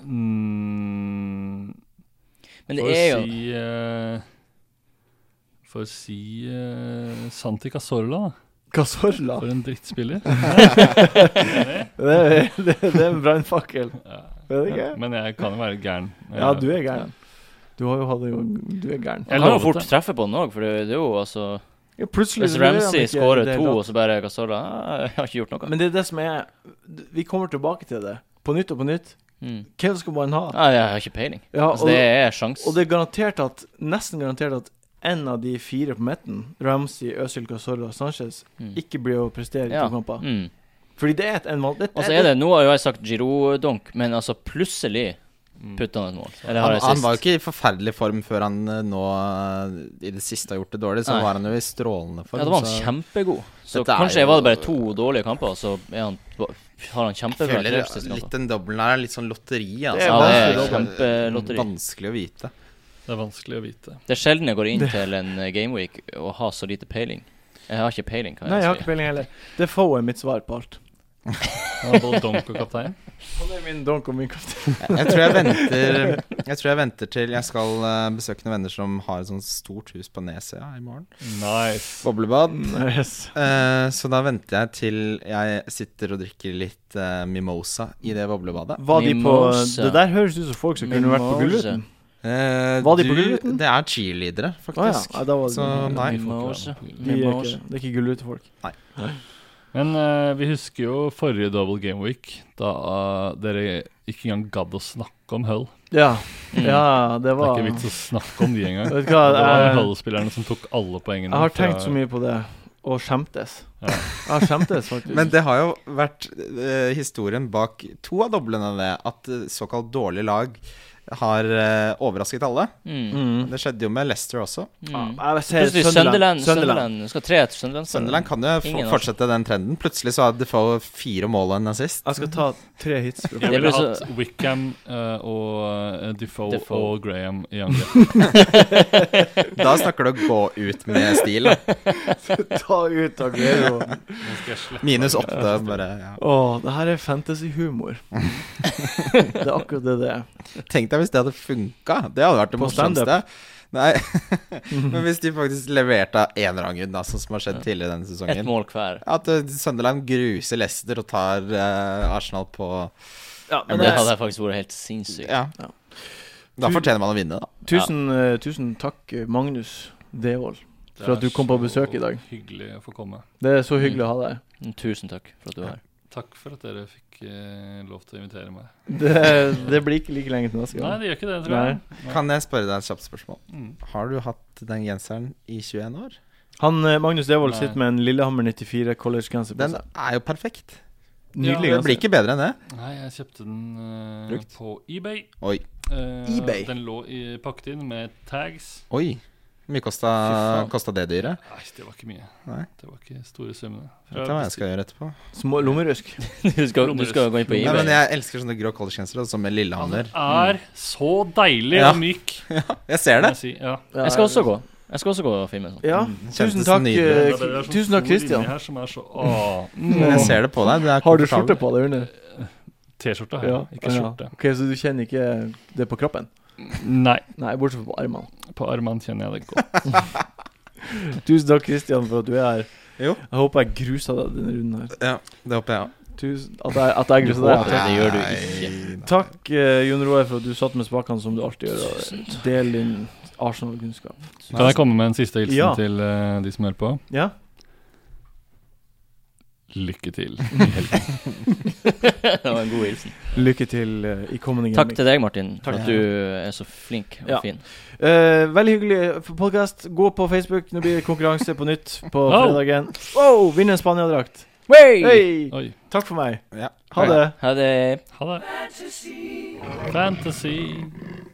Mm, Men det får er jo si eh, Får si eh, Santi Cazorla, da. Casorla? For en drittspiller. Det, er- det, det er en brannfakkel. Ja. Er det ikke? Men jeg kan jo være gæren. Ja, du er gæren. Du har jo hatt det jo Du er gæren. Jeg Han kan jo lovet fort det. treffe på den òg, for det, det er jo altså Ja, plutselig Hvis så gjør han Ramsey ikke skårer det to, da. og så bare Gasola ah, Jeg har ikke gjort noe. Men det er det som er Vi kommer tilbake til det. På nytt og på nytt. Mm. Hvem skal man Ah. ha? Nei, jeg har ikke peiling. Ja, Ah, Altså, og, det er sjans. og det er garantert at Nesten garantert at en av de fire på midten, Ramsey, Øzil, Casorla og Sanchez, Mm. ikke blir å prestere i Ja. to kamper. Mm. Fordi det er et en valg... Og så er det, Nå har jo jeg sagt Giroud-donk, men altså plutselig Mm. putter han et mål. Eller har Han, jeg han sist? var jo ikke i forferdelig form før han eh, nå eh, i det siste har gjort det dårlig, så Nei. var han jo i strålende form. Ja, da var han så- kjempegod. Så Dette er kanskje jo- jeg var det bare to dårlige kamper, og så er han, har han Jeg kjempebra føler litt trepskamper. den dobbelen her er litt sånn lotteri, Det er altså. Ja, det er vanskelig kjempelotteri. Vanskelig å vite. Det er vanskelig å vite. Det er sjelden jeg går inn til en eh, gameweek og har så lite peiling. Jeg har ikke peiling, kan Nei, jeg har si. ikke peiling heller. Det er få er mitt svar på alt. Han er både donk og kaptein. Han er min donk og min kaptein. Jeg tror jeg venter Jeg tror jeg venter til jeg skal eh, besøke noen venner som har et sånt stort hus på Nesøya i morgen. Nice. Boblebad. <laughs> Yes. Eh, så da venter jeg til jeg sitter og drikker litt eh, mimosa i det boblebadet. Var de på Mimosa. Det der høres ut som folk som kunne vært på Mimosa. Gullruten. Eh, Var de du- på Gullruten? Det er cheerleadere, Å ja. faktisk. ja, da var det Så nei. Mimosa. de er Mimosa. ikke, Det er ikke Gullruten-folk. Men eh, vi husker jo forrige double game week, da eh, dere ikke engang gadd å snakke om Hull. Ja. ja, det Det er var ikke vits å snakke om de engang. Vet du Det var hva, jeg, Hull-spillerne som tok alle poengene. jeg har fra- tenkt så mye på det, og skjemtes. Ja. Jeg har skjemtes, faktisk. Men det har jo vært eh, historien bak to av doblene av det, at eh, såkalt dårlige lag har eh, overrasket alle. Mm. mm. Det skjedde jo med Leicester også. Mm. Ja, jeg ser Plutselig Sunderland. Sunderland. Skal tre etter Sunderland. Sunderland kan jo Ingen få- av- fortsette den trenden. Plutselig så har Defoe fire mål og en assist. Jeg skal ta tre hits. Bro. Jeg Det ville blir så- hatt Wickham eh, og eh, Defoe, Defoe. og Graham <laughs> i angrep. Da snakker du å gå ut med stil. da. <laughs> ta ut Aguero. Nå skal jeg slette Minus åtte, bare. Ja. Å, det her er fantasyhumor. Det er akkurat det det er. Tenk deg hvis det hadde funka. Det hadde vært det På standup. morsomste. Nei, <laughs> men hvis de faktisk leverte av en eller annen grunn, da, sånn som har skjedd tidligere denne Et sesongen. mål hver. At eh, Sunderland gruser Leicester og tar eh, Arsenal på Ja, men Det det, hadde faktisk vært helt sinnssykt. Ja. Ja. Da fortjener man å vinne, da. tusen, eh, tusen takk, eh, Magnus Devold, Det for at er du kom på så besøk i dag. Hyggelig å få komme. Det er så hyggelig å ha deg. Mm, Tusen takk for at du var her. <laughs> Takk for at dere fikk eh, lov til å invitere meg. Det, det blir ikke like lenge til neste Nei, gang. det gjør ikke det, tror jeg. Nei. Kan jeg spørre deg et kjapt spørsmål? Mm. Har du hatt den genseren i 21 år? Han, eh, Magnus Devold Nei. sitter med en Lillehammer 94 collegegenser på Den seg. er jo perfekt. Nydelig Ja, Det genser. blir ikke bedre enn det. Nei, jeg kjøpte den eh, Brukt. på eBay. Oi. Eh, eBay? Den lå i, pakket inn med tags. Oi. Hvor mye kosta, Fy faen. kosta det dyret? Nei, det var ikke mye. Nei. Det var ikke store summene. Vet du hva jeg altså. skal gjøre etterpå? Små lommerusk. Du skal, du skal gå inn på Nei, men eBay. jeg elsker sånne grå collegegensere, som med Lillehammer. er så deilig Ja. og myk. Jeg ser må det! jeg Si. Ja. Ja, Jeg skal også gå. Jeg skal også gå og filme <laughs> en sånn. Ja, tusen Kjentes takk, nydelig. eh, Ja, det er sånn tusen takk, stor Christian. linje Her som er så, Åh, <laughs> Jeg ser det på deg. Du er Har du komfortabel. skjorte på deg under? T-skjorte har jeg, ikke ja. skjorte. Ok, Så du kjenner ikke det på kroppen? Nei, Nei, bortsett fra på armene. på armene kjenner jeg det godt. Tusen takk, Christian, for at du er her. Jo. Jeg håper jeg grusa deg denne runden her. Ja, det håper jeg òg. Tusen, at jeg, at jeg grusa deg. det gjør du ikke. Takk, eh, Jon Roar, for at du satt med spakene som du alltid gjør. Og del din Arsenal-kunnskap. Kan jeg komme med en siste hilsen Ja. til eh, de som hører på? Ja? Lykke til. i helgen. det var en god hilsen. Lykke til eh, i kommende Takk til deg, Martin, for Takk. at du er så flink og Ja. fin. Eh, veldig hyggelig podkast. Gå på Facebook. Nå blir det konkurranse på nytt på Oh. fredagen. Wow, Vinn en Spania-drakt. Hei! Hei! Oi. Takk for meg. Ja. Ha det. Ha det. Ha det. Fantasy.